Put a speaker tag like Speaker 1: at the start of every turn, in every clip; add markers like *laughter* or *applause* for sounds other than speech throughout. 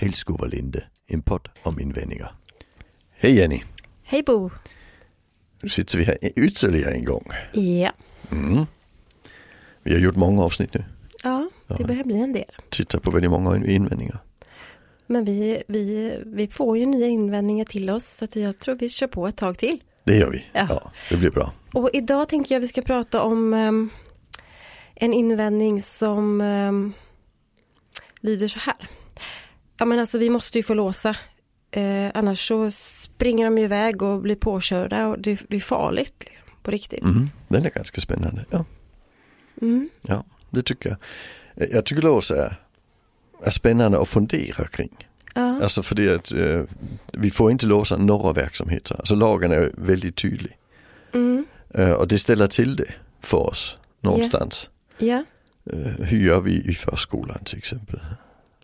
Speaker 1: Vilskovalinde, en podd om invändningar. Hej Jenny,
Speaker 2: Hej Bo!
Speaker 1: nu sitter vi här ytterligare en gång.
Speaker 2: Ja.
Speaker 1: Mm. Vi har gjort många avsnitt nu,
Speaker 2: ja, det börjar bli en del.
Speaker 1: tittar på väldigt många invändningar.
Speaker 2: Men vi, vi, vi får ju nya invändningar till oss så att jag tror vi kör på ett tag till.
Speaker 1: Det gör vi,
Speaker 2: Ja.
Speaker 1: ja, det blir bra.
Speaker 2: Och idag tänker jag vi ska prata om ehm, en invändning som ehm, lyder så här. Ja men alltså vi måste ju få låsa. Eh, annars så springer de ju iväg och blir påkörda och det, det är farligt liksom, på riktigt.
Speaker 1: Mm. Den är ganska spännande, ja.
Speaker 2: Mm.
Speaker 1: ja det tycker jag. Eh, Jag tycker Låsa är, är spännande att fundera kring.
Speaker 2: Ja.
Speaker 1: Alltså för det att eh, vi får inte låsa några verksamheter. Alltså lagen är väldigt tydlig.
Speaker 2: Mm.
Speaker 1: Eh, och det ställer till det för oss någonstans.
Speaker 2: ja.
Speaker 1: Eh, hur gör vi i förskolan till exempel?
Speaker 2: Ja,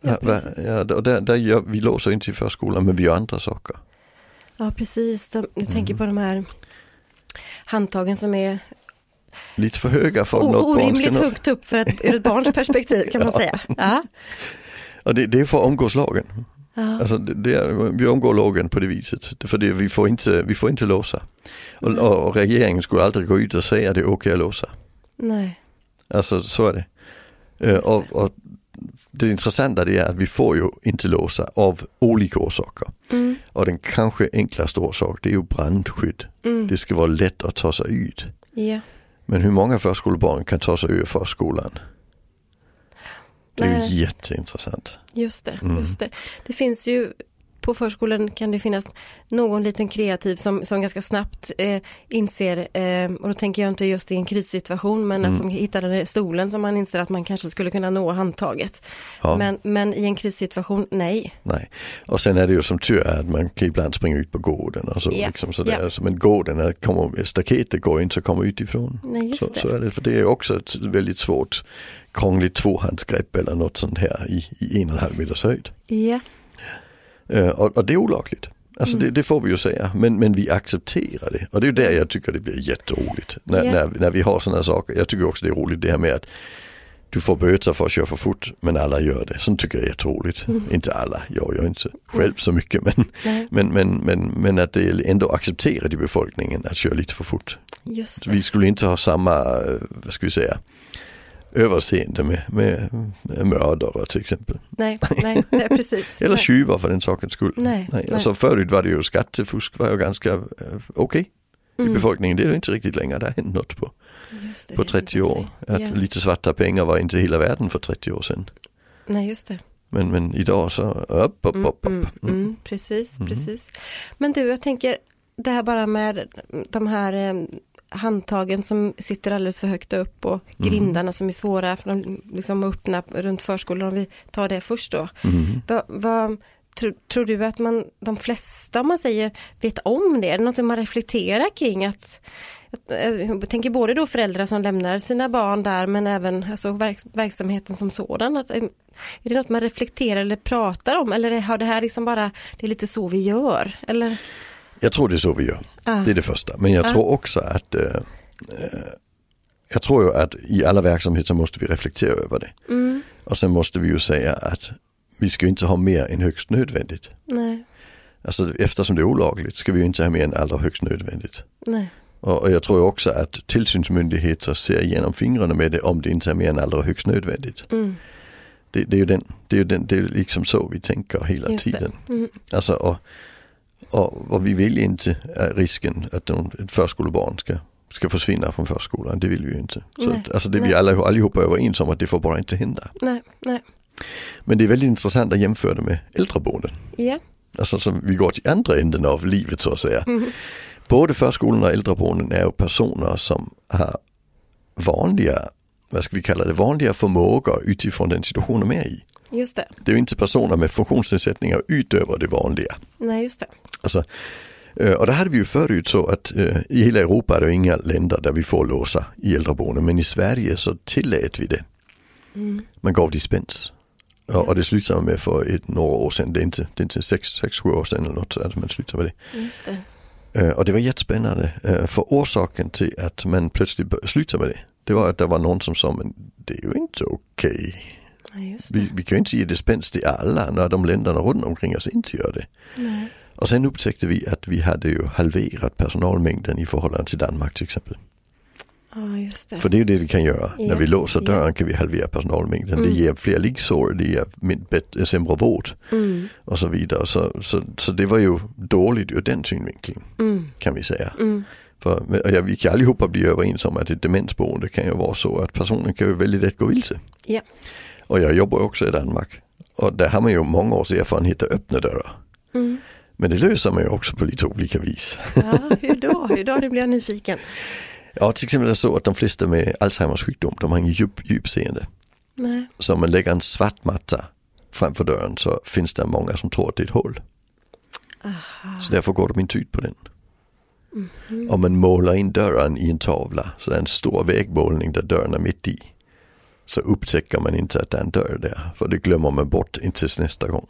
Speaker 1: Ja, va,
Speaker 2: precis.
Speaker 1: ja, och där, där gör, vi låser inte i förskolan men vi gör andra saker.
Speaker 2: Ja, precis. De, du tänker på de här handtagen som är
Speaker 1: Lite för höga för att
Speaker 2: o-
Speaker 1: något barn ska
Speaker 2: orimligt
Speaker 1: nå.
Speaker 2: högt upp för ett, ur
Speaker 1: *laughs*
Speaker 2: ett barns perspektiv kan man säga. Ja.
Speaker 1: Och det, det är för att omgås lagen.
Speaker 2: Ja.
Speaker 1: Alltså det, det är, vi omgår lagen på det viset. För det, vi, får inte, vi får inte låsa. Och, och, och regeringen skulle aldrig gå ut och säga att det är okej att låsa.
Speaker 2: Nej.
Speaker 1: Alltså så är det. Eh,
Speaker 2: Just
Speaker 1: Och, och det intressanta det är att vi får ju inte låsa av olika orsaker.
Speaker 2: Mm.
Speaker 1: Och den kanske enklaste orsak det är ju brandskydd.
Speaker 2: Mm.
Speaker 1: Det ska vara lätt att ta sig ut.
Speaker 2: Ja.
Speaker 1: Men hur många förskolebarn kan ta sig ur förskolan? Det är
Speaker 2: Nej.
Speaker 1: ju jätteintressant.
Speaker 2: Just det,
Speaker 1: Mm.
Speaker 2: just det. Det finns ju på förskolan kan det finnas någon liten kreativ som, som ganska snabbt eh, inser, eh, och då tänker jag inte just i en krissituation, men
Speaker 1: Mm.
Speaker 2: som hittar den där stolen som man inser att man kanske skulle kunna nå handtaget.
Speaker 1: Ja,
Speaker 2: Men, men i en krissituation, nej.
Speaker 1: nej. Och sen är det ju som tur är att man kan ibland springa ut på gården och så.
Speaker 2: Ja,
Speaker 1: Liksom
Speaker 2: ja.
Speaker 1: sådär. Men gården, är, kommer, staketet går inte att komma utifrån.
Speaker 2: Nej, just
Speaker 1: Så,
Speaker 2: det.
Speaker 1: så är det, för det är också ett väldigt svårt krångligt tvåhandsgrepp eller något sånt här i, i en och en halv meters höjd.
Speaker 2: Ja.
Speaker 1: Eh, och, och det är olagligt. Alltså
Speaker 2: Mm.
Speaker 1: det, det får vi ju säga, men, men vi accepterar det. Och det är ju där jag tycker det blir jätteroligt. När,
Speaker 2: Ja.
Speaker 1: när, när vi har sådana saker. Jag tycker också det är roligt det här med att du får böter för att köra för fort, men alla gör det. Sånt tycker jag är jätteroligt.
Speaker 2: Mm.
Speaker 1: Inte alla, jag gör inte själv så mycket, men,
Speaker 2: Nej.
Speaker 1: men, men, men, men att det är ändå accepterat i befolkningen att köra lite för fort. *laughs*
Speaker 2: Just det.
Speaker 1: Vi skulle inte ha samma, eh, vad ska vi säga, överseende med, med, med mördare till exempel.
Speaker 2: Nej, nej, nej precis.
Speaker 1: Eller
Speaker 2: nej.
Speaker 1: tjuvar för den sakens skull.
Speaker 2: Nej, nej.
Speaker 1: Alltså förut var det ju skattefusk var ju ganska eh, okej i
Speaker 2: Mm,
Speaker 1: befolkningen. Det är ju inte riktigt längre, det har hänt något på,
Speaker 2: just det,
Speaker 1: på
Speaker 2: det kan
Speaker 1: 30
Speaker 2: jag
Speaker 1: år.
Speaker 2: säga.
Speaker 1: Att
Speaker 2: Ja.
Speaker 1: lite svarta pengar var inte hela världen för 30 år sedan.
Speaker 2: Nej, just det.
Speaker 1: Men, men idag så, upp, upp,
Speaker 2: Mm,
Speaker 1: upp,
Speaker 2: mm,
Speaker 1: upp.
Speaker 2: mm, precis,
Speaker 1: Mm.
Speaker 2: precis. Men du, jag tänker det här bara med de här eh, handtagen som sitter alldeles för högt upp och
Speaker 1: Mm.
Speaker 2: grindarna som är svåra för de liksom att öppna runt förskolan. Om vi tar det först då.
Speaker 1: Mhm.
Speaker 2: Vad, vad, tro, tror du att man, de flesta om man säger vet om det? Är det något som man reflekterar kring? Att, att, eh, jag tänker både då föräldrar som lämnar sina barn där men även alltså, verk, verksamheten som sådan. Att, eh, är det något man reflekterar eller pratar om eller har det här liksom bara, det är lite så vi gör? Eller?
Speaker 1: Jag tror det är så vi gör.
Speaker 2: Ah,
Speaker 1: Det är det första. Men jag
Speaker 2: Ja.
Speaker 1: tror också att eh, eh, jag tror ju att i alla verksamheter måste vi reflektera över det.
Speaker 2: mm,
Speaker 1: Och sen måste vi ju säga att vi ska ju inte ha mer än högst nödvändigt.
Speaker 2: nej,
Speaker 1: Alltså eftersom det är olagligt ska vi ju inte ha mer än allra högst nödvändigt.
Speaker 2: nej,
Speaker 1: Och och jag tror ju också att tillsynsmyndigheter ser igenom fingrarna med det om det inte är mer än allra högst nödvändigt.
Speaker 2: mm,
Speaker 1: Det, det, är, ju den, det, är, ju den, det är liksom så vi tänker hela
Speaker 2: just det.
Speaker 1: tiden.
Speaker 2: Mm,
Speaker 1: Alltså, och, och, och vi vill inte att risken att de, ett förskolebarn ska, ska försvinna från förskolan, det vill vi ju inte. Så
Speaker 2: Nej,
Speaker 1: att, alltså det är vi
Speaker 2: nej.
Speaker 1: alla, allihopa överens om att det får bara inte hända.
Speaker 2: nej, nej,
Speaker 1: Men det är väldigt intressant att jämföra det med äldreboenden.
Speaker 2: ja,
Speaker 1: Alltså som vi går till andra änden av livet så att säga.
Speaker 2: mm,
Speaker 1: Både förskolan och äldreboenden är ju personer som har vanliga, vad ska vi kalla det, vanliga förmågor utifrån den situation de är i.
Speaker 2: just det,
Speaker 1: Det är ju inte personer med funktionsnedsättningar utöver det vanliga.
Speaker 2: nej, just det,
Speaker 1: Alltså, eh, och det hade vi ju förut så att eh, i hela Europa är det ju inga länder där vi får låsa i äldreboenden, men i Sverige så tillät vi det.
Speaker 2: mm,
Speaker 1: Man gav dispens. Och, och det slutade man med för ett, några år sedan, det är inte, det är inte sex, sex, sju år sedan eller något, att man slutade med det.
Speaker 2: just det,
Speaker 1: Eh, Och det var jättespännande. eh, För orsaken till att man plötsligt bör- slutade med det, det var att det var någon som sa, men det är ju inte okej.
Speaker 2: Ja, just det.
Speaker 1: Vi, vi kan ju inte ge dispens till alla när de länderna runt omkring oss inte gör det.
Speaker 2: Nej.
Speaker 1: Och sen upptäckte vi att vi hade ju halverat personalmängden i förhållande till Danmark till exempel.
Speaker 2: Ja, just det.
Speaker 1: För det är ju det vi kan göra.
Speaker 2: Ja,
Speaker 1: När vi låser
Speaker 2: ja.
Speaker 1: dörren kan vi halvera personalmängden. Det
Speaker 2: Mm.
Speaker 1: ger fler liggsår, det ger min- bättre, sämre vård
Speaker 2: Mm,
Speaker 1: och så vidare. Så, så, så det var ju dåligt ur den synvinkeln
Speaker 2: mm,
Speaker 1: kan vi säga.
Speaker 2: mm.
Speaker 1: För, men- och jag, vi kan allihopa bli överens om att ett demensboende kan ju vara så att personen kan ju väldigt lätt gå vilse.
Speaker 2: Ja.
Speaker 1: Och jag jobbar också i Danmark. Och där har man ju många års erfarenhet av öppna dörrar.
Speaker 2: Mm.
Speaker 1: Men det löser man ju också på lite olika vis.
Speaker 2: Ja, hur då? Hur då? Nu blir jag nyfiken.
Speaker 1: Ja, till exempel är det så att de flesta med Alzheimers sjukdom, de har ingen djup, djupseende.
Speaker 2: Nej.
Speaker 1: Så om man lägger en svart matta framför dörren så finns det många som tror att det är ett hål.
Speaker 2: Aha. Mhm.
Speaker 1: Så därför går de inte ut på den. Om man målar in dörren i en tavla, så det är en stor vägmålning där dörren är mitt i. Så upptäcker man inte att det är en dörr där, för det glömmer man bort tills nästa gång.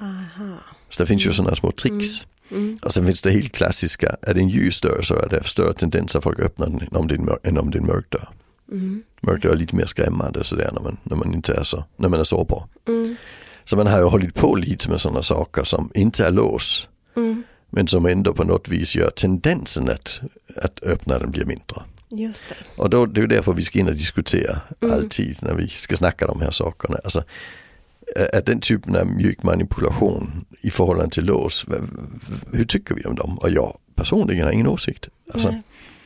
Speaker 2: Aha.
Speaker 1: Så det finns ju sådana små tricks.
Speaker 2: Mm.
Speaker 1: Och sen finns det helt klassiska, är det en ljus dörr så är det större tendens att folk öppnar den än om det är en mör- än om det är en mörk dörr.
Speaker 2: Mm.
Speaker 1: Mörkt är lite mer skrämmande sådär när man, när man inte är så, när man är sårbar.
Speaker 2: Mm.
Speaker 1: Så man har ju hållit på lite med sådana saker som inte är lås,
Speaker 2: Mm.
Speaker 1: men som ändå på något vis gör tendensen att, att öppna den blir mindre.
Speaker 2: Just det.
Speaker 1: Och då, det är ju därför vi ska in och diskutera
Speaker 2: Mm.
Speaker 1: alltid när vi ska snacka de här sakerna. Alltså, är- är den typen av mjuk manipulation i förhållande till lås, vad- hur tycker vi om dem? Och jag personligen har ingen åsikt. Alltså,
Speaker 2: Nej.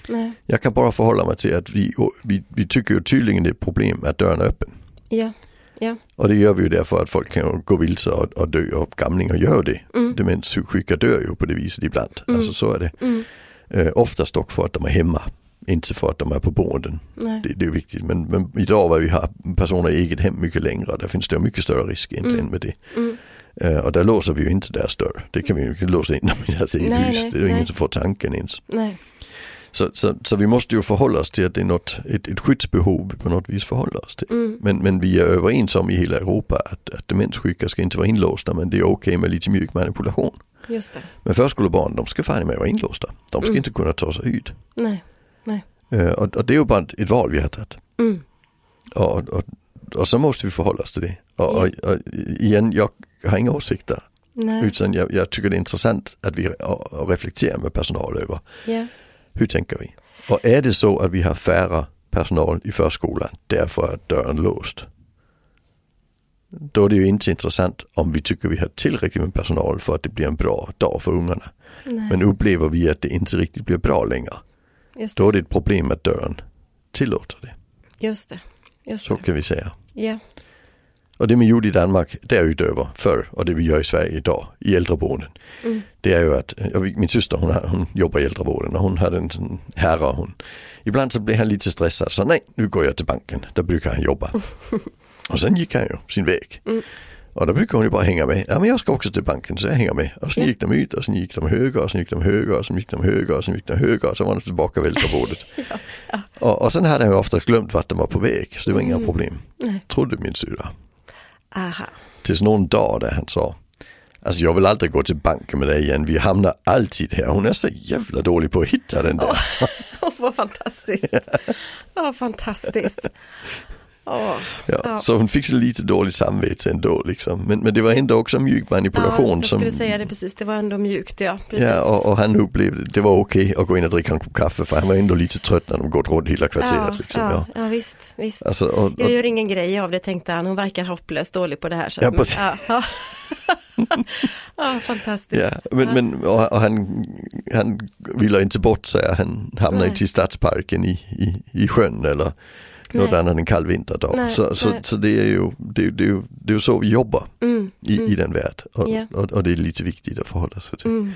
Speaker 2: Nej.
Speaker 1: jag kan bara förhålla mig till att vi, vi, vi tycker ju tydligen det är ett problem att dörren är öppen.
Speaker 2: Ja. Ja.
Speaker 1: Och det gör vi ju därför att folk kan ju gå vilse och, och dö och gamlingar gör det.
Speaker 2: Mm.
Speaker 1: Demenssjuka dör ju på det viset ibland.
Speaker 2: Mm.
Speaker 1: Alltså så är det.
Speaker 2: Mm.
Speaker 1: Eh, oftast dock för att de är hemma, inte för att de är på boenden.
Speaker 2: Nej.
Speaker 1: Det, det är ju viktigt. Men, men idag var vi har personer i eget hem mycket längre, där finns det ju mycket större risk egentligen
Speaker 2: Mm.
Speaker 1: med det.
Speaker 2: Mm.
Speaker 1: Eh, och där låser vi ju inte deras dörr. Det kan vi ju inte låsa in dem i deras eget
Speaker 2: Nej,
Speaker 1: hus.
Speaker 2: nej,
Speaker 1: Det är ju ingen
Speaker 2: nej.
Speaker 1: som får tanken ens.
Speaker 2: Nej.
Speaker 1: Så, så, så vi måste ju förhålla oss till att det är något, ett, ett skyddsbehov vi på något vis förhåller oss till.
Speaker 2: Mm.
Speaker 1: Men, men vi är överens om i hela Europa att, att demenssjuka ska inte vara inlåsta men det är okej med lite mjuk manipulation.
Speaker 2: Just det.
Speaker 1: Men förskolebarn de ska fan i mig vara inlåsta. De ska
Speaker 2: Mm.
Speaker 1: inte kunna ta sig ut.
Speaker 2: Nej.
Speaker 1: Eh, och, och det är ju bara ett- ett val vi har tagit.
Speaker 2: Mm.
Speaker 1: Och, och, och så måste vi förhålla oss till det. Och,
Speaker 2: Ja.
Speaker 1: och, och igen, jag har inga åsikter.
Speaker 2: Nej.
Speaker 1: Utan jag, jag tycker det är intressant att vi och, och reflekterar med personal över
Speaker 2: Ja.
Speaker 1: Hur tänker vi? Och är det så att vi har färre personal i förskolan därför att dörren är låst? Då är det ju inte intressant om vi tycker vi har tillräckligt med personal för att det blir en bra dag för ungarna.
Speaker 2: Nej.
Speaker 1: Men upplever vi att det inte riktigt blir bra längre,
Speaker 2: Just
Speaker 1: då
Speaker 2: det.
Speaker 1: är det ett problem att dörren tillåter det.
Speaker 2: Just det. Just
Speaker 1: Så
Speaker 2: det.
Speaker 1: kan vi säga.
Speaker 2: Ja.
Speaker 1: Och det man gjorde i Danmark därutöver förr och det vi gör i Sverige idag i äldreboenden.
Speaker 2: Mm.
Speaker 1: Det är ju att, jag, vet, min syster hon, har, hon jobbar i äldrevården och hon hade en sån herre. och Hon, ibland så blev han lite stressad så nej nu går jag till banken, där brukar han jobba.
Speaker 2: *laughs*
Speaker 1: och sen gick han ju sin väg.
Speaker 2: Mm.
Speaker 1: Och då brukar hon ju bara hänga med. Ja men jag ska också till banken så jag hänger med. Och sen
Speaker 2: Ja.
Speaker 1: gick de ut och sen gick de höger och sen gick de höger och sen gick de höger och sen gick de höger och sen var de tillbaka vid äldrevården.
Speaker 2: *laughs*
Speaker 1: och, och sen hade han ju oftast glömt vart de var på väg så det var inga
Speaker 2: Mm.
Speaker 1: problem.
Speaker 2: Nej.
Speaker 1: Trodde min syster.
Speaker 2: Aha. *laughs*
Speaker 1: Tills någon dag där han sa Alltså jag vill aldrig gå till banken med dig igen, vi hamnar alltid här. Hon är så jävla dålig på att hitta den där.
Speaker 2: Åh, vad fantastiskt. Åh, fantastiskt. Åh.
Speaker 1: ja.
Speaker 2: ja.
Speaker 1: Så hon fick så lite dåligt samvete ändå liksom. Men, men det var ändå också mjuk manipulation.
Speaker 2: Ja, jag
Speaker 1: som,
Speaker 2: skulle säga det precis. Det var ändå mjukt, ja. Precis.
Speaker 1: ja, och, och han upplevde det var okej att gå in och dricka en kopp kaffe för han var ändå lite trött när de gått runt hela kvarteret.
Speaker 2: ja,
Speaker 1: liksom.
Speaker 2: ja,
Speaker 1: ja.
Speaker 2: ja, visst. visst.
Speaker 1: Alltså, och, och,
Speaker 2: Jag gör ingen grej av det tänkte han, hon verkar hopplöst dålig på det här. Så
Speaker 1: Ja,
Speaker 2: att-
Speaker 1: precis.
Speaker 2: Ja, ja. *laughs* ja, fantastiskt.
Speaker 1: Ja, men, men och, och han, han vilar inte bort sig, han hamnar
Speaker 2: Nej.
Speaker 1: inte i stadsparken i, i, i sjön eller något
Speaker 2: Nej.
Speaker 1: annat en kall vinterdag.
Speaker 2: Nej,
Speaker 1: så så,
Speaker 2: nej.
Speaker 1: så det, är ju, det, är- det, är ju, det är ju så vi jobbar
Speaker 2: Mm,
Speaker 1: i,
Speaker 2: mm,
Speaker 1: i den värld och,
Speaker 2: Ja.
Speaker 1: och, och det är lite viktigt att förhålla sig till.
Speaker 2: mm.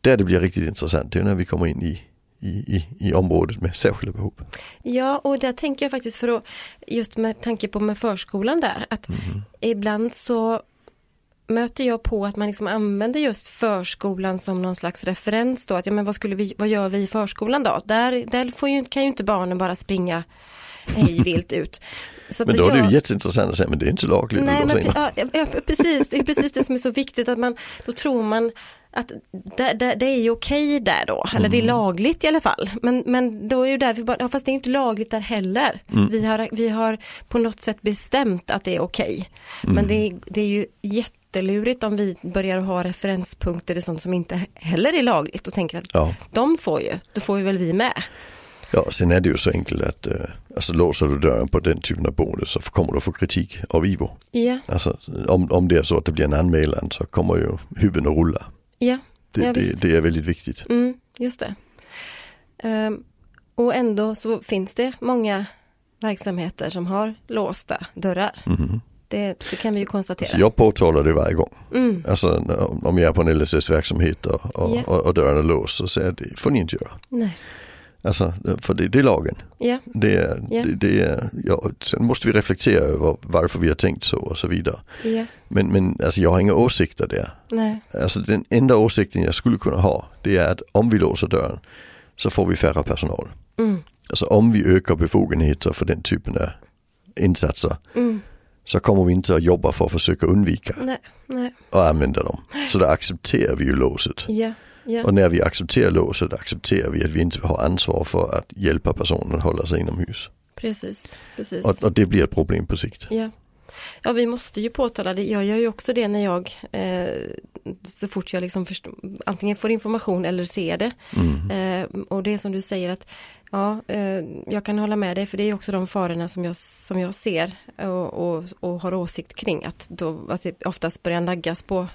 Speaker 1: Där det blir riktigt intressant, det är när vi kommer in i, i, i, i området med särskilda behov.
Speaker 2: Ja, och där tänker jag faktiskt för att, just med tanke på med förskolan där, att
Speaker 1: Mhm.
Speaker 2: ibland så möter jag på att man liksom använder just förskolan som någon slags referens då, att ja men vad, skulle vi, vad gör vi i förskolan då? Där, där får ju, kan ju inte barnen bara springa hej vilt ut. Så att
Speaker 1: Men då är det
Speaker 2: jag-
Speaker 1: ju jätteintressant att säga, men det är inte lagligt. att
Speaker 2: Nej,
Speaker 1: låsa
Speaker 2: men,
Speaker 1: in
Speaker 2: pre- ja, ja, precis, det är precis det som är så viktigt att man, då tror man att det, det, det är ju okej där då, eller det är
Speaker 1: Mm.
Speaker 2: lagligt i alla fall. Men, men då är ju där vi bara, ja, fast det är inte lagligt där heller.
Speaker 1: Mm.
Speaker 2: Vi, har, vi har på något sätt bestämt att det är okej.
Speaker 1: Mm.
Speaker 2: Men det, det är ju jättelurigt om vi börjar ha referenspunkter i sånt som inte heller är lagligt och tänker att
Speaker 1: Ja.
Speaker 2: de får ju, då får ju väl vi med.
Speaker 1: ja, sen är det ju så enkelt att eh, alltså, låser du dörren på den typen av boende så kommer du få kritik av IVO.
Speaker 2: Ja,
Speaker 1: Alltså, om, om det är så att det blir en anmälan så kommer ju huvuden att rulla.
Speaker 2: ja,
Speaker 1: Det,
Speaker 2: Ja,
Speaker 1: det,
Speaker 2: visst.
Speaker 1: det är väldigt viktigt.
Speaker 2: mm, just det. Ehm, och ändå så finns det många verksamheter som har låsta dörrar.
Speaker 1: Mhm.
Speaker 2: Det, det kan vi ju konstatera.
Speaker 1: Så jag påtalar det varje gång.
Speaker 2: Mm.
Speaker 1: Alltså om- om jag är på en LSS-verksamhet och, och,
Speaker 2: Ja.
Speaker 1: och, och dörren är låst så säger jag det får ni inte göra.
Speaker 2: Nej.
Speaker 1: Alltså, för det, det är lagen.
Speaker 2: Ja,
Speaker 1: Det är,
Speaker 2: Ja.
Speaker 1: det, det är, ja, sen måste vi reflektera över varför vi har tänkt så och så vidare.
Speaker 2: ja,
Speaker 1: Men, men alltså, jag har inga åsikter där.
Speaker 2: nej,
Speaker 1: Alltså, den enda åsikten jag skulle kunna ha det är att om vi låser dörren så får vi färre personal.
Speaker 2: mm,
Speaker 1: Alltså om vi ökar befogenheter för den typen av insatser
Speaker 2: mm,
Speaker 1: så kommer vi inte att jobba för att försöka undvika
Speaker 2: nej, nej,
Speaker 1: och använda dem. Så då accepterar vi ju låset.
Speaker 2: ja, ja,
Speaker 1: Och när vi accepterar låset accepterar vi att vi inte har ansvar för att hjälpa personen att hålla sig inomhus.
Speaker 2: precis, precis.
Speaker 1: Och, och det blir ett problem på sikt.
Speaker 2: Ja. ja, vi måste ju påtala det. Jag gör ju också det när jag, eh, så fort jag liksom först, antingen får information eller ser det.
Speaker 1: Mm.
Speaker 2: Eh, och det är som du säger att, ja, eh, jag kan hålla med dig för det är ju också de farorna som jag, som jag ser och, och, och har åsikt kring. Att, då, att det oftast börjar naggas på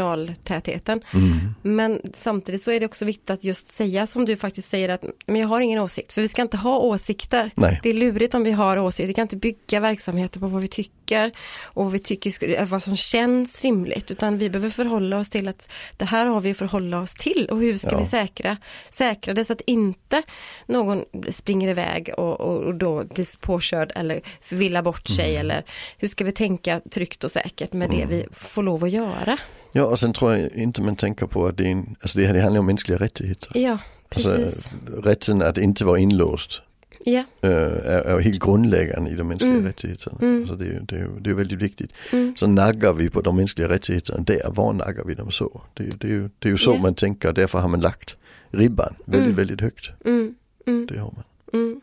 Speaker 2: personaltätheten.
Speaker 1: Mm.
Speaker 2: Men samtidigt så är det också viktigt att just säga som du faktiskt säger att men jag har ingen åsikt, för vi ska inte ha åsikter.
Speaker 1: Nej.
Speaker 2: Det är lurigt om vi har åsikter, vi kan inte bygga verksamheter på vad vi tycker och vad, vi tycker, skulle- vad som känns rimligt, utan vi behöver förhålla oss till att det här har vi att förhålla oss till och hur ska
Speaker 1: Ja.
Speaker 2: vi säkra, säkra det så att inte någon springer iväg och, och, och då blir påkörd eller villar bort sig
Speaker 1: Mm.
Speaker 2: eller hur ska vi tänka tryggt och säkert med det vi får lov att göra.
Speaker 1: Ja och sen tror jag inte man tänker på att det, är en, alltså det här det handlar om mänskliga rättigheter.
Speaker 2: Ja,
Speaker 1: Alltså,
Speaker 2: precis.
Speaker 1: rätten att inte vara inlåst
Speaker 2: ja.
Speaker 1: eh, är, är ju helt grundläggande i de mänskliga
Speaker 2: Mm.
Speaker 1: rättigheterna.
Speaker 2: Mm.
Speaker 1: Alltså det, är ju- det, är ju- det är väldigt viktigt.
Speaker 2: Mm.
Speaker 1: Så naggar vi på de mänskliga rättigheterna där, var naggar vi dem så? Det, är ju- det, är, ju, det är ju så
Speaker 2: Ja.
Speaker 1: man tänker, därför har man lagt ribban väldigt,
Speaker 2: Mm.
Speaker 1: väldigt högt.
Speaker 2: Mm, mm,
Speaker 1: Det har man.
Speaker 2: mm.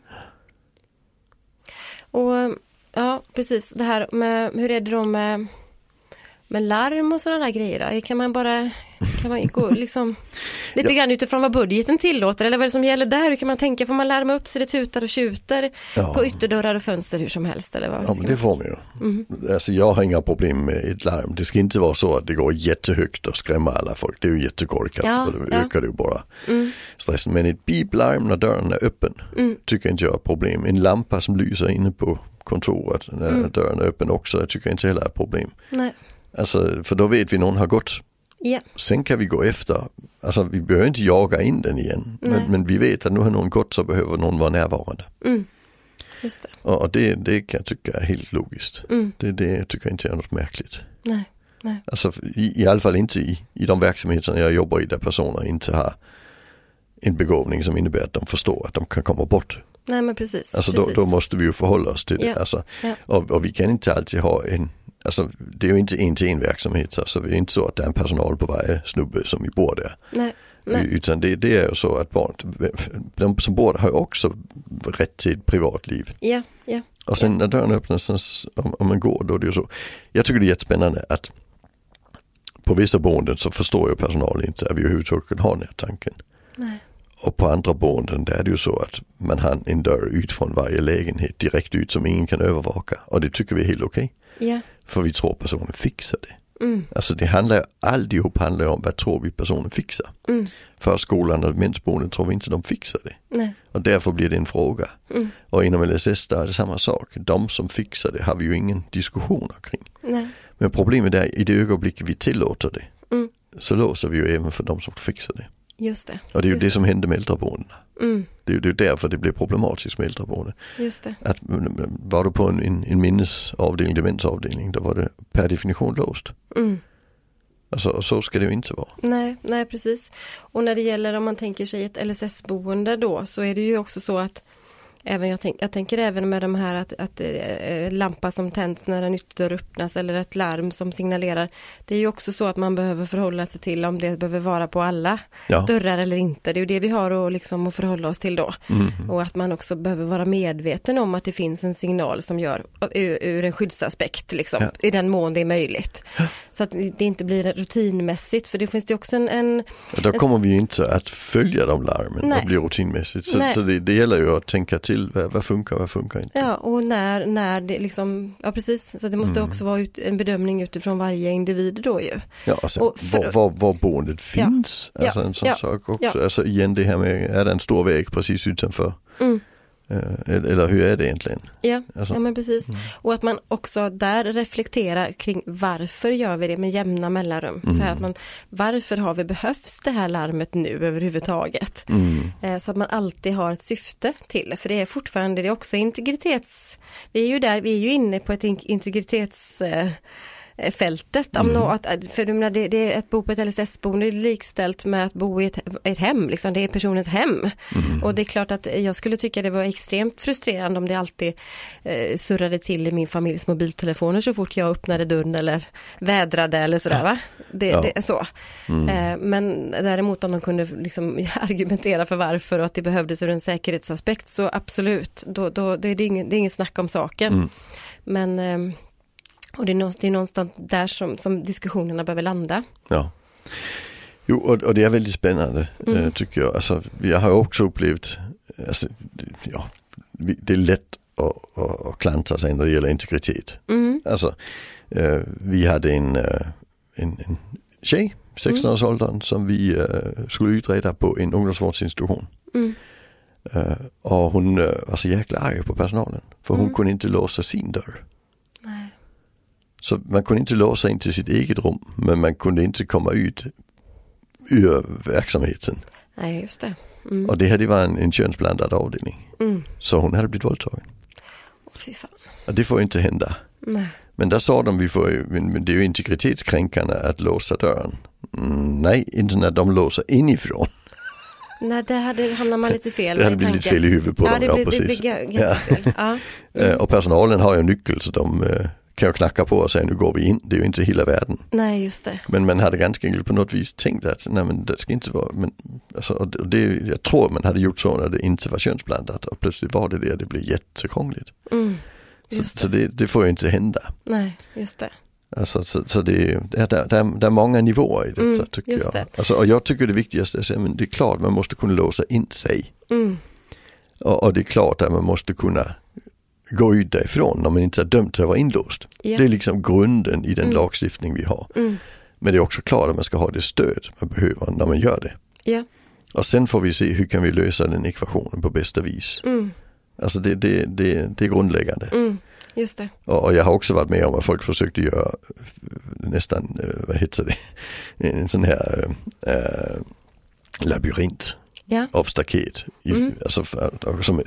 Speaker 2: Och ja, precis det här med hur är det då med, med larm och sådana där grejer? Då? Kan man bara, kan man
Speaker 1: *laughs*
Speaker 2: gå liksom lite grann utifrån vad budgeten tillåter eller vad är det som gäller där? Hur kan man tänka? Får man larma upp så det tutar och tjuter
Speaker 1: Ja.
Speaker 2: på ytterdörrar och fönster hur Mm. som helst? Eller vad?
Speaker 1: Ja men det får man ju. Alltså jag har inga problem med ett larm. Det ska inte vara så att det går jättehögt och skrämmer alla folk. Det är ju jättekorkat
Speaker 2: Ja,
Speaker 1: och det
Speaker 2: ja.
Speaker 1: ökar ju bara
Speaker 2: Mm.
Speaker 1: stressen. Men ett piplarm när dörren är öppen tycker inte jag är problem. En lampa som lyser inne på kontoret när dörren är öppen också tycker jag inte heller är problem.
Speaker 2: Nej.
Speaker 1: Alltså för då vet vi någon har gått.
Speaker 2: Ja,
Speaker 1: Sen kan vi gå efter, alltså vi behöver inte jaga in den igen.
Speaker 2: Nej.
Speaker 1: Men, men vi vet att nu har någon gått så behöver någon vara närvarande.
Speaker 2: Mm. just det.
Speaker 1: Och och det, det kan jag tycka är helt logiskt.
Speaker 2: Mm.
Speaker 1: Det, det tycker jag inte är något märkligt.
Speaker 2: Nej.
Speaker 1: Alltså i, i alla fall inte i, i de verksamheter jag jobbar i där personer inte har en begåvning som innebär att de förstår att de kan komma bort.
Speaker 2: Nej, men precis.
Speaker 1: Alltså då,
Speaker 2: precis.
Speaker 1: då måste vi ju förhålla oss till det.
Speaker 2: Ja,
Speaker 1: Alltså,
Speaker 2: ja.
Speaker 1: och, och vi kan inte alltid ha en, alltså det är ju inte en till en verksamhet, så alltså, det är inte så att det är en personal på varje snubbe som vi bor där.
Speaker 2: Nej. Nej.
Speaker 1: Utan det, det är ju så att barn, de som bor där har ju också rätt till ett privatliv.
Speaker 2: Ja, ja.
Speaker 1: Och sen när dörren öppnas, sen s- om, om man går då är det ju så. Jag tycker det är jättespännande att på vissa boenden så förstår ju personal inte att vi överhuvudtaget kan ha den här tanken.
Speaker 2: Nej.
Speaker 1: Och på andra boenden där är det ju så att man har en dörr ut från varje lägenhet direkt ut som ingen kan övervaka. Och det tycker vi är helt okej.
Speaker 2: Ja.
Speaker 1: För vi tror personen fixar det.
Speaker 2: Mm.
Speaker 1: Alltså det handlar ju, alltihop handlar ju om vad tror vi personen fixar.
Speaker 2: Mm.
Speaker 1: Förskolan och demensboendet tror vi inte de fixar det.
Speaker 2: Nej.
Speaker 1: Och därför blir det en fråga.
Speaker 2: Mm.
Speaker 1: Och inom LSS där är det samma sak. De som fixar det har vi ju ingen diskussion kring.
Speaker 2: Nej.
Speaker 1: Men problemet är i det ögonblick vi tillåter det
Speaker 2: Mm.
Speaker 1: så låser vi ju även för de som fixar det.
Speaker 2: Just det.
Speaker 1: Och det är ju
Speaker 2: Just
Speaker 1: det som hände med äldreboendena.
Speaker 2: Mm.
Speaker 1: Det är ju det är ju därför det blev problematiskt med äldreboende.
Speaker 2: Just det.
Speaker 1: Att mm, var du på en, en, en minnesavdelning, demensavdelning, då var det per definition låst.
Speaker 2: Mm.
Speaker 1: Alltså, och så ska det ju inte vara.
Speaker 2: Nej, nej precis. Och när det gäller om man tänker sig ett LSS-boende då så är det ju också så att Även jag, tänk, jag tänker även med de här att, att eh, lampa som tänds när en ytterdörr öppnas eller ett larm som signalerar. Det är ju också så att man behöver förhålla sig till om det behöver vara på alla
Speaker 1: Ja.
Speaker 2: dörrar eller inte. Det är ju det vi har att, liksom, att förhålla oss till då.
Speaker 1: Mm-hmm.
Speaker 2: Och att man också behöver vara medveten om att det finns en signal som gör ur, ur en skyddsaspekt, liksom,
Speaker 1: Ja.
Speaker 2: i den mån det är möjligt. Så att det inte blir rutinmässigt, för det finns det också en, en
Speaker 1: Och då kommer vi ju inte att följa de larmen,
Speaker 2: Nej.
Speaker 1: det blir rutinmässigt. Så,
Speaker 2: Nej.
Speaker 1: så det, det gäller ju att tänka till, vad, vad funkar, vad funkar inte?
Speaker 2: Ja, och när, när det liksom, ja precis, så det måste också vara ut, en bedömning utifrån varje individ då ju.
Speaker 1: Ja, och sen,
Speaker 2: Och för-
Speaker 1: var, var, var boendet
Speaker 2: Ja.
Speaker 1: finns,
Speaker 2: Ja.
Speaker 1: alltså en sån
Speaker 2: Ja.
Speaker 1: sak också.
Speaker 2: Ja.
Speaker 1: Alltså igen det här med, är det en stor väg precis utanför?
Speaker 2: Mm.
Speaker 1: Eh, Eller eller hur är det egentligen?
Speaker 2: Ja,
Speaker 1: Alltså,
Speaker 2: ja men precis. Och att man också där reflekterar kring varför gör vi det med jämna mellanrum. Så här att man, varför har vi behövs det här larmet nu överhuvudtaget?
Speaker 1: mm.
Speaker 2: Eh, Så att man alltid har ett syfte till, för det är fortfarande, det är också integritets... Vi är ju där, vi är ju inne på ett in- integritets... eh, eh, fältet.
Speaker 1: Mm.
Speaker 2: Om nå- att, att- för du menar, det, det är ett bo på ett LSS-boende är likställt med att bo i ett, ett hem, liksom. det är personens hem.
Speaker 1: Mm. Mm-hmm.
Speaker 2: Och det är klart att jag skulle tycka det var extremt frustrerande om det alltid eh, surrade till i min familjs mobiltelefoner så fort jag öppnade dörren eller vädrade eller sådär. Va? Det,
Speaker 1: Ja.
Speaker 2: det är så.
Speaker 1: Mm-hmm. Mm.
Speaker 2: Eh, men däremot om de kunde liksom *laughs* argumentera för varför och att det behövdes ur en säkerhetsaspekt så absolut, då, då, det, det, är ingen, det är ingen snack om saken.
Speaker 1: Mm.
Speaker 2: Men ehm, och det är någonstans, det är någonstans där som, som diskussionerna behöver landa.
Speaker 1: Ja. Jo, och, och det är väldigt spännande eh, tycker jag. Alltså, jag har också upplevt, alltså, det- ja, vi- det är lätt att, att, att klanta sig när det gäller integritet.
Speaker 2: Mm.
Speaker 1: Alltså, eh, vi hade en, eh, en, en tjej, 16-årsåldern, som vi eh, skulle utreda på en ungdomsvårdsinstitution.
Speaker 2: Mm.
Speaker 1: Eh, och hon eh, var så jäkla arg på personalen, för hon
Speaker 2: Mm.
Speaker 1: kunde inte låsa sin dörr.
Speaker 2: Nej.
Speaker 1: Så man kunde inte låsa in till sitt eget rum, men man kunde inte komma ut ur verksamheten.
Speaker 2: Nej, just det. Mm.
Speaker 1: Och det här det var en, en könsblandad avdelning.
Speaker 2: Mm.
Speaker 1: Så hon hade blivit våldtagen.
Speaker 2: Åh, Fy fan.
Speaker 1: Och det får inte hända.
Speaker 2: Nej.
Speaker 1: Men där sa de, vi får, ju- men, men det är ju integritetskränkande att låsa dörren. Mm, nej, inte när de låser inifrån.
Speaker 2: Nej, där hade, hamnar man lite fel.
Speaker 1: Det hade
Speaker 2: i
Speaker 1: blivit
Speaker 2: tanken.
Speaker 1: fel i huvudet på
Speaker 2: Ja,
Speaker 1: dem,
Speaker 2: det
Speaker 1: ja
Speaker 2: blir, det
Speaker 1: precis.
Speaker 2: blir ga- jättefel. Ja.
Speaker 1: *laughs*
Speaker 2: Mm.
Speaker 1: Eh, Och personalen har ju nyckel så de eh, kan ju knacka på och säga nu går vi in. Det är ju inte hela världen.
Speaker 2: Nej, just det.
Speaker 1: Men man hade ganska enkelt på något vis tänkt att nej men det ska inte vara, men alltså, och det- och det, jag tror man hade gjort så när det inte var könsblandat och plötsligt var det det och det blev jättekrångligt.
Speaker 2: Mm.
Speaker 1: Så,
Speaker 2: Just det.
Speaker 1: så det, det får ju inte hända.
Speaker 2: Nej, just det.
Speaker 1: Alltså, så, så det, är- det, är, det, är, det är många nivåer i detta
Speaker 2: Mm,
Speaker 1: tycker
Speaker 2: just
Speaker 1: jag.
Speaker 2: det.
Speaker 1: Alltså, och jag tycker det viktigaste är att säga, men det är klart man måste kunna låsa in sig.
Speaker 2: Mm.
Speaker 1: Och, och det är klart att man måste kunna gå ut därifrån om man inte är dömd till att vara inlåst.
Speaker 2: Ja.
Speaker 1: Det är liksom grunden i den
Speaker 2: Mm.
Speaker 1: lagstiftning vi har.
Speaker 2: Mm.
Speaker 1: Men det är också klart att man ska ha det stöd man behöver när man gör det.
Speaker 2: Ja.
Speaker 1: Och sen får vi se hur kan vi lösa den ekvationen på bästa vis.
Speaker 2: Mm.
Speaker 1: Alltså det, det, det, det är grundläggande.
Speaker 2: Mm. Just det.
Speaker 1: Och, och jag har också varit med om att folk försökte göra eh, nästan, eh, vad heter det, *laughs* en sån här äh, labyrint
Speaker 2: Ja.
Speaker 1: av staket. I,
Speaker 2: Mm.
Speaker 1: alltså, för- och som,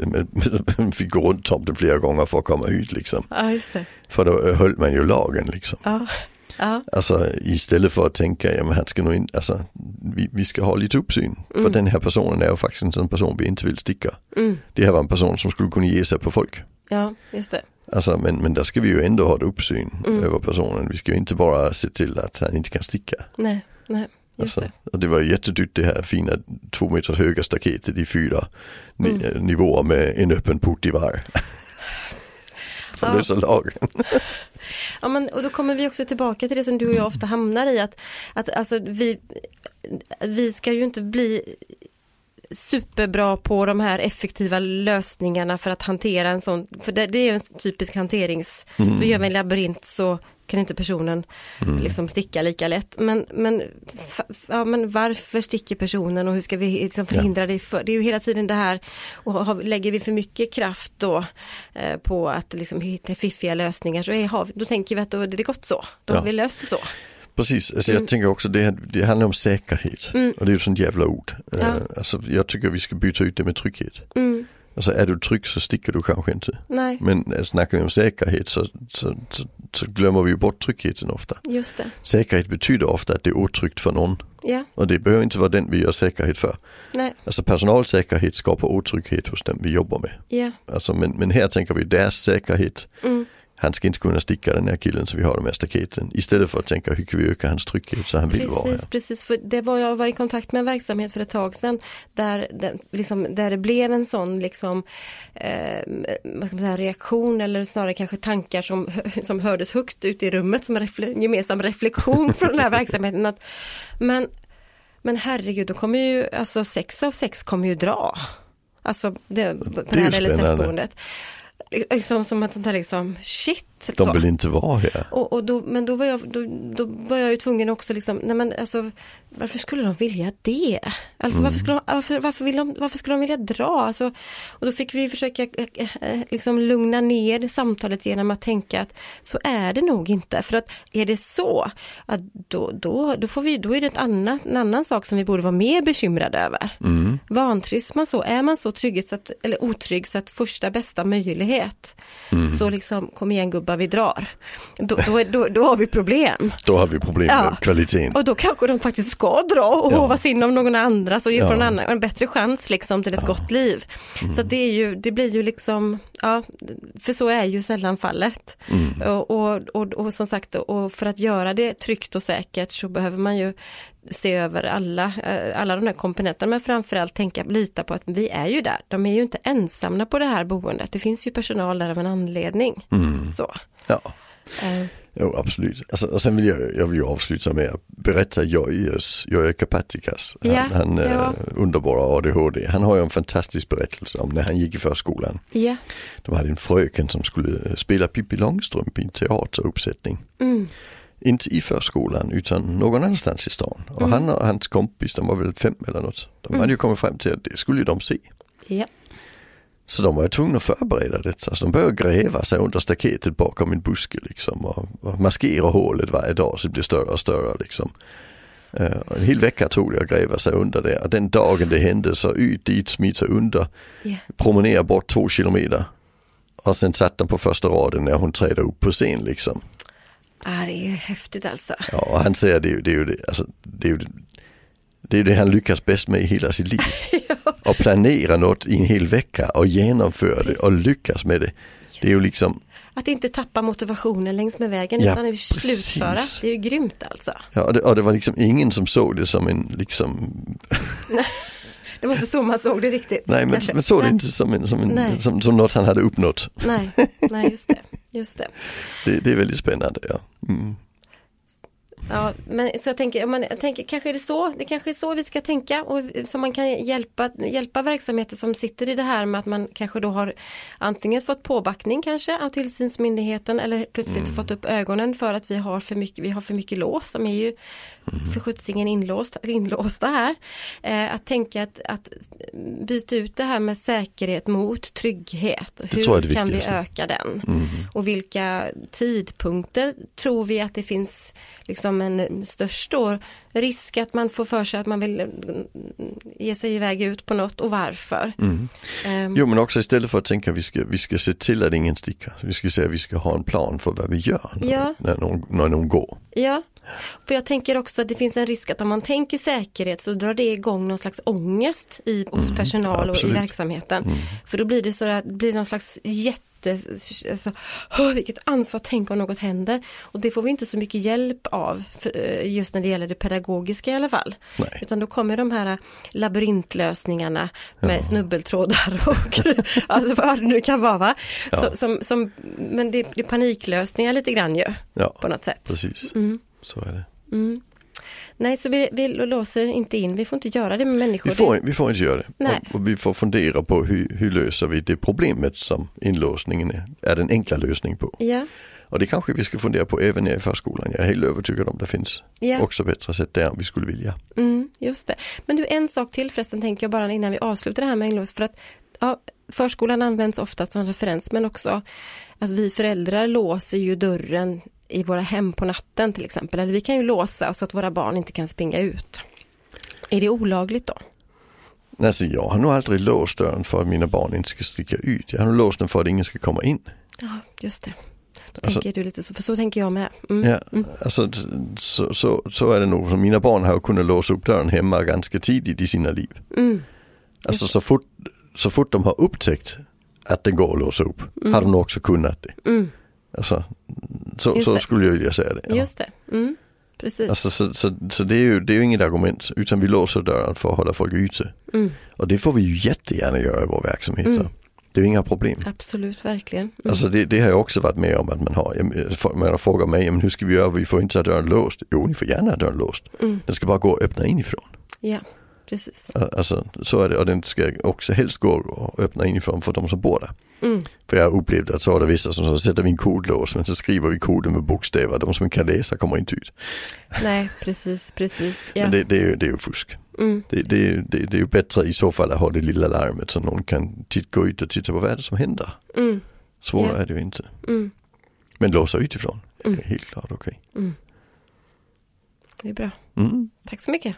Speaker 1: man fick gå runt tomten flera gånger för att komma ut liksom.
Speaker 2: Ja, just det.
Speaker 1: För då eh, höll man ju lagen liksom.
Speaker 2: Ja. Ja.
Speaker 1: Alltså istället för att tänka, ja men han ska nog in, alltså vi, vi ska ha lite uppsyn. För
Speaker 2: Mm.
Speaker 1: den här personen är ju faktiskt en sån person vi inte vill sticka.
Speaker 2: Mm.
Speaker 1: Det här var en person som skulle kunna ge sig på folk.
Speaker 2: ja, just det.
Speaker 1: Alltså, men, men där ska vi ju ändå ha ett uppsyn
Speaker 2: Mm.
Speaker 1: över øh, personen. Vi ska ju inte bara se till att han inte kan sticka.
Speaker 2: Nej, nej. Just
Speaker 1: Alltså,
Speaker 2: det.
Speaker 1: Och det var ju jättedyrt det här fina två meters höga staketet i fyra ni-
Speaker 2: Mm.
Speaker 1: eh, nivåer med en öppen port i var.
Speaker 2: *laughs*
Speaker 1: För att
Speaker 2: Ja.
Speaker 1: lösa lagen.
Speaker 2: Ja, men, och då kommer vi också tillbaka till det som du och jag ofta hamnar i att, att alltså, vi, vi ska ju inte bli superbra på de här effektiva lösningarna för att hantera en sån, för det, det är ju en typisk hanterings, då gör vi en labyrint så kan inte personen liksom sticka lika lätt. Men, men, fa- ja, men varför sticker personen och hur ska vi liksom förhindra det? För, det är ju hela tiden det här, och har, lägger vi för mycket kraft då eh, på att liksom hitta fiffiga lösningar så är, har, vi- då tänker vi att då är det gott så. Då har
Speaker 1: Ja.
Speaker 2: vi löst det så.
Speaker 1: Precis, alltså,
Speaker 2: Mm.
Speaker 1: jag tänker också det, här- det handlar om säkerhet. Och det är ju ett sånt jävla ord. Eh,
Speaker 2: Ja.
Speaker 1: Alltså, jag tycker vi ska byta ut det med trygghet.
Speaker 2: Mm,
Speaker 1: Alltså är du trygg så sticker du kanske inte.
Speaker 2: nej,
Speaker 1: Men eh, snackar vi om säkerhet så, så, så så glömmer vi ju bort tryggheten ofta.
Speaker 2: Just det.
Speaker 1: Säkerhet betyder ofta att det är otryggt för någon
Speaker 2: Ja,
Speaker 1: och det behöver inte vara den vi gör säkerhet för.
Speaker 2: nej,
Speaker 1: Alltså personalsäkerhet skapar otrygghet hos den vi jobbar med.
Speaker 2: ja,
Speaker 1: Alltså, men, men här tänker vi deras säkerhet.
Speaker 2: mm,
Speaker 1: Han ska inte kunna sticka den här killen så vi har de här staketen. Istället för att tänka hur kan vi öka hans trygghet så han vill vara här.
Speaker 2: precis, precis. För det var, jag var i kontakt med en verksamhet för ett tag sedan där det, liksom, där det blev en sån liksom, eh, vad ska man säga, reaktion eller snarare kanske tankar som, *laughs* som hördes högt ut i rummet som en refle- gemensam reflektion från
Speaker 1: *laughs*
Speaker 2: den här verksamheten. Att, men, men herregud, då kommer ju, alltså sex av sex kommer ju dra. Alltså det, på det
Speaker 1: ju
Speaker 2: här
Speaker 1: spännande.
Speaker 2: LSS-boendet. Liksom, som ett sånt här liksom, shit.
Speaker 1: De
Speaker 2: så.
Speaker 1: vill inte vara här.
Speaker 2: Och, och då, men då var, jag, då, då var jag ju tvungen också liksom, nej men alltså, varför skulle de vilja det? Alltså varför, skulle de, varför, varför, vill de, varför skulle de vilja dra? Alltså, och då fick vi försöka eh, eh, liksom lugna ner samtalet genom att tänka att så är det nog inte. För att är det så, att då, då, då, får vi, då är det ett annat, en annan sak som vi borde vara mer bekymrade över. Mm. Vantrivs man så, är man så, trygghet så att, eller otrygg så att första bästa möjlighet, så liksom kom igen gubbar vi drar. Då, då, är- då, då har vi problem.
Speaker 1: Då har vi problem med
Speaker 2: Ja.
Speaker 1: kvaliteten.
Speaker 2: Och då kanske de faktiskt ska dra och
Speaker 1: Ja.
Speaker 2: hovas in av någon andra så
Speaker 1: Ja. Mm.
Speaker 2: får en, annan, en bättre chans liksom till ett gott liv. Så att det, är ju, det blir ju liksom, ja, för så är ju sällan fallet.
Speaker 1: Mm.
Speaker 2: Och, och, och, och som sagt, och för att göra det tryggt och säkert så behöver man ju se över alla, eh, alla de här komponenterna, men framförallt tänka, lita på att vi är ju där. De är ju inte ensamma på det här boendet. Det finns ju personal där av en anledning.
Speaker 1: Mm.
Speaker 2: Så.
Speaker 1: Ja.
Speaker 2: eh,
Speaker 1: Jo, absolut. Alltså, och sen vill jag, jag vill ju avsluta med att berätta Jojjes, Jojje Kapatikas, han,
Speaker 2: Ja,
Speaker 1: han eh,
Speaker 2: ja.
Speaker 1: underbara ADHD. Han har ju en fantastisk berättelse om när han gick i förskolan.
Speaker 2: Ja,
Speaker 1: De hade en fröken som skulle eh, spela Pippi Långstrump i en teateruppsättning.
Speaker 2: mm.
Speaker 1: Inte i förskolan utan någon annanstans i stan. Och
Speaker 2: Mm.
Speaker 1: han och hans kompis, de var väl fem eller något. De hade ju kommit fram till att det skulle ju de se.
Speaker 2: ja,
Speaker 1: Så de var ju tvungna att förbereda det. Alltså de började gräva sig under staketet bakom en buske liksom och, och maskera hålet varje dag så det blev större och större liksom. Eh, och en hel vecka tog det att gräva sig under det och den dagen det hände så ut dit, smit sig under,
Speaker 2: ja.
Speaker 1: promenera bort två kilometer. Och sen satt de på första raden när hon trädde upp på scen liksom.
Speaker 2: Ah, det är häftigt alltså.
Speaker 1: Ja, och han säger det är ju det, är ju det, alltså, det, är ju det, det, är ju det han lyckas bäst med i hela
Speaker 2: *laughs*
Speaker 1: sitt liv. Och planera något i en hel vecka och genomföra det och lyckas med det. Det är ju liksom,
Speaker 2: Att inte tappa motivationen längs med vägen
Speaker 1: Ja,
Speaker 2: utan att slutföra.
Speaker 1: precis.
Speaker 2: Det är ju grymt alltså.
Speaker 1: ja, och, det, och det var liksom ingen som såg det som en, liksom,
Speaker 2: Det var inte så man såg det riktigt.
Speaker 1: nej men,
Speaker 2: kanske.
Speaker 1: men såg det
Speaker 2: nej,
Speaker 1: inte som, en, som, en,
Speaker 2: Nej.
Speaker 1: som, som något han hade uppnått.
Speaker 2: Nej, nej just, det, just det.
Speaker 1: Det, det är väldigt spännande. Ja. Mm.
Speaker 2: Ja, men så jag tänker, om man, jag tänker, kanske är det så, det kanske är så vi ska tänka och som man kan hjälpa, hjälpa verksamheter som sitter i det här med att man kanske då har antingen fått påbackning kanske av tillsynsmyndigheten eller plötsligt
Speaker 1: Mm.
Speaker 2: fått upp ögonen för att vi har för mycket, vi har för mycket lås som är ju
Speaker 1: Mm.
Speaker 2: för sjuttsingen inlåst, inlåsta här. Eh, att tänka att, att byta ut det här med säkerhet mot trygghet. Hur
Speaker 1: tror jag är det
Speaker 2: kan vi
Speaker 1: viktigaste.
Speaker 2: öka den? Och vilka tidpunkter tror vi att det finns liksom en störst då risk att man får för sig att man vill mm, ge sig iväg ut på något och varför? Ehm,
Speaker 1: Jo men också istället för att tänka vi ska, vi ska se till att ingen sticker. Vi ska säga vi ska ha en plan för vad vi gör när,
Speaker 2: Ja.
Speaker 1: när, någon, när någon går.
Speaker 2: Ja, för jag tänker också att det finns en risk att om man tänker säkerhet så drar det igång någon slags ångest i, hos personal och i
Speaker 1: Mm, absolut. Mm.
Speaker 2: verksamheten. För då blir det så att det blir någon slags jätte, alltså, "Åh, vilket ansvar, tänk om något händer. Och det får vi inte så mycket hjälp av, för, eh, just när det gäller det pedagogiska i alla fall.
Speaker 1: Nej.
Speaker 2: Utan då kommer de här eh, labyrintlösningarna med snubbeltrådar *laughs* och alltså, vad det nu kan vara. Va? Så, som, som, men det, det är paniklösningar lite grann ju,
Speaker 1: Ja,
Speaker 2: på något sätt.
Speaker 1: precis.
Speaker 2: Mm.
Speaker 1: Så är det.
Speaker 2: Nej, så vi, vi låser inte in, vi får inte göra det med människor.
Speaker 1: Vi får, vi får inte göra det.
Speaker 2: Nej.
Speaker 1: Och, och vi får fundera på hur, hur löser vi det problemet som inlåsningen är, är den enkla lösningen på.
Speaker 2: Det- Ja,
Speaker 1: Och det kanske vi ska fundera på även i förskolan. Jag är helt övertygad om det finns
Speaker 2: ja
Speaker 1: också bättre sätt där om vi skulle vilja.
Speaker 2: mm, just det. Men du, en sak till förresten tänker jag bara innan vi avslutar det här med inlås. För att ja, förskolan används ofta som referens, men också att vi föräldrar låser ju dörren i våra hem på natten till exempel. Eller vi kan ju låsa så att våra barn inte kan springa ut. Är det olagligt då?
Speaker 1: Alltså jag har nog aldrig låst dörren för att mina barn inte ska sticka ut. Jag har nog låst den för att ingen ska komma in.
Speaker 2: Ja, just det. Då tänker du lite så, för så tänker jag med. Mm.
Speaker 1: Alltså- Ja, alltså, så, så, så är det nog. Så Mina barn har ju kunnat låsa upp dörren hemma ganska tidigt i sina liv.
Speaker 2: Mm.
Speaker 1: Alltså så fort, så fort de har upptäckt att det går att låsa upp har de nog också kunnat det.
Speaker 2: Mm.
Speaker 1: Alltså, så
Speaker 2: Just
Speaker 1: så
Speaker 2: det.
Speaker 1: skulle jag vilja säga det. Ja.
Speaker 2: Just det. Mm. Precis.
Speaker 1: Alltså, så så, så det, är ju, det är ju inget argument utan vi låser dörren för att hålla folk ute.
Speaker 2: Mm.
Speaker 1: Och det får vi ju jättegärna göra i vår verksamhet.
Speaker 2: Mm.
Speaker 1: Så. Det är ju inga problem.
Speaker 2: Absolut, verkligen. Mm.
Speaker 1: Alltså det, det har jag också varit med om att man har, jag- folk- man har frågat mig, "Men hur ska vi göra, vi får inte ha dörren låst. Jo, ni får gärna ha dörren låst.
Speaker 2: Mm.
Speaker 1: Den ska bara gå att öppna inifrån.
Speaker 2: Ja, precis.
Speaker 1: Alltså, så är det och den ska också helst gå att öppna inifrån för de som bor där.
Speaker 2: Mm.
Speaker 1: För jag upplevde att så var det vissa som sa, sätter vi en kodlås men så skriver vi koden med bokstäver, de som kan läsa kommer inte ut.
Speaker 2: Nej, precis, precis. Ja.
Speaker 1: Men det, det, är ju, det är ju fusk.
Speaker 2: Mm.
Speaker 1: Det, det, är ju- det, det är ju bättre i så fall att ha det lilla larmet så någon kan titt, gå ut och titta på vad är det som händer.
Speaker 2: Mm.
Speaker 1: Svårare
Speaker 2: Ja.
Speaker 1: är det ju inte.
Speaker 2: Mm.
Speaker 1: Men låsa utifrån,
Speaker 2: Mm.
Speaker 1: det är helt klart okej.
Speaker 2: Det är bra.
Speaker 1: Mm.
Speaker 2: Tack så mycket.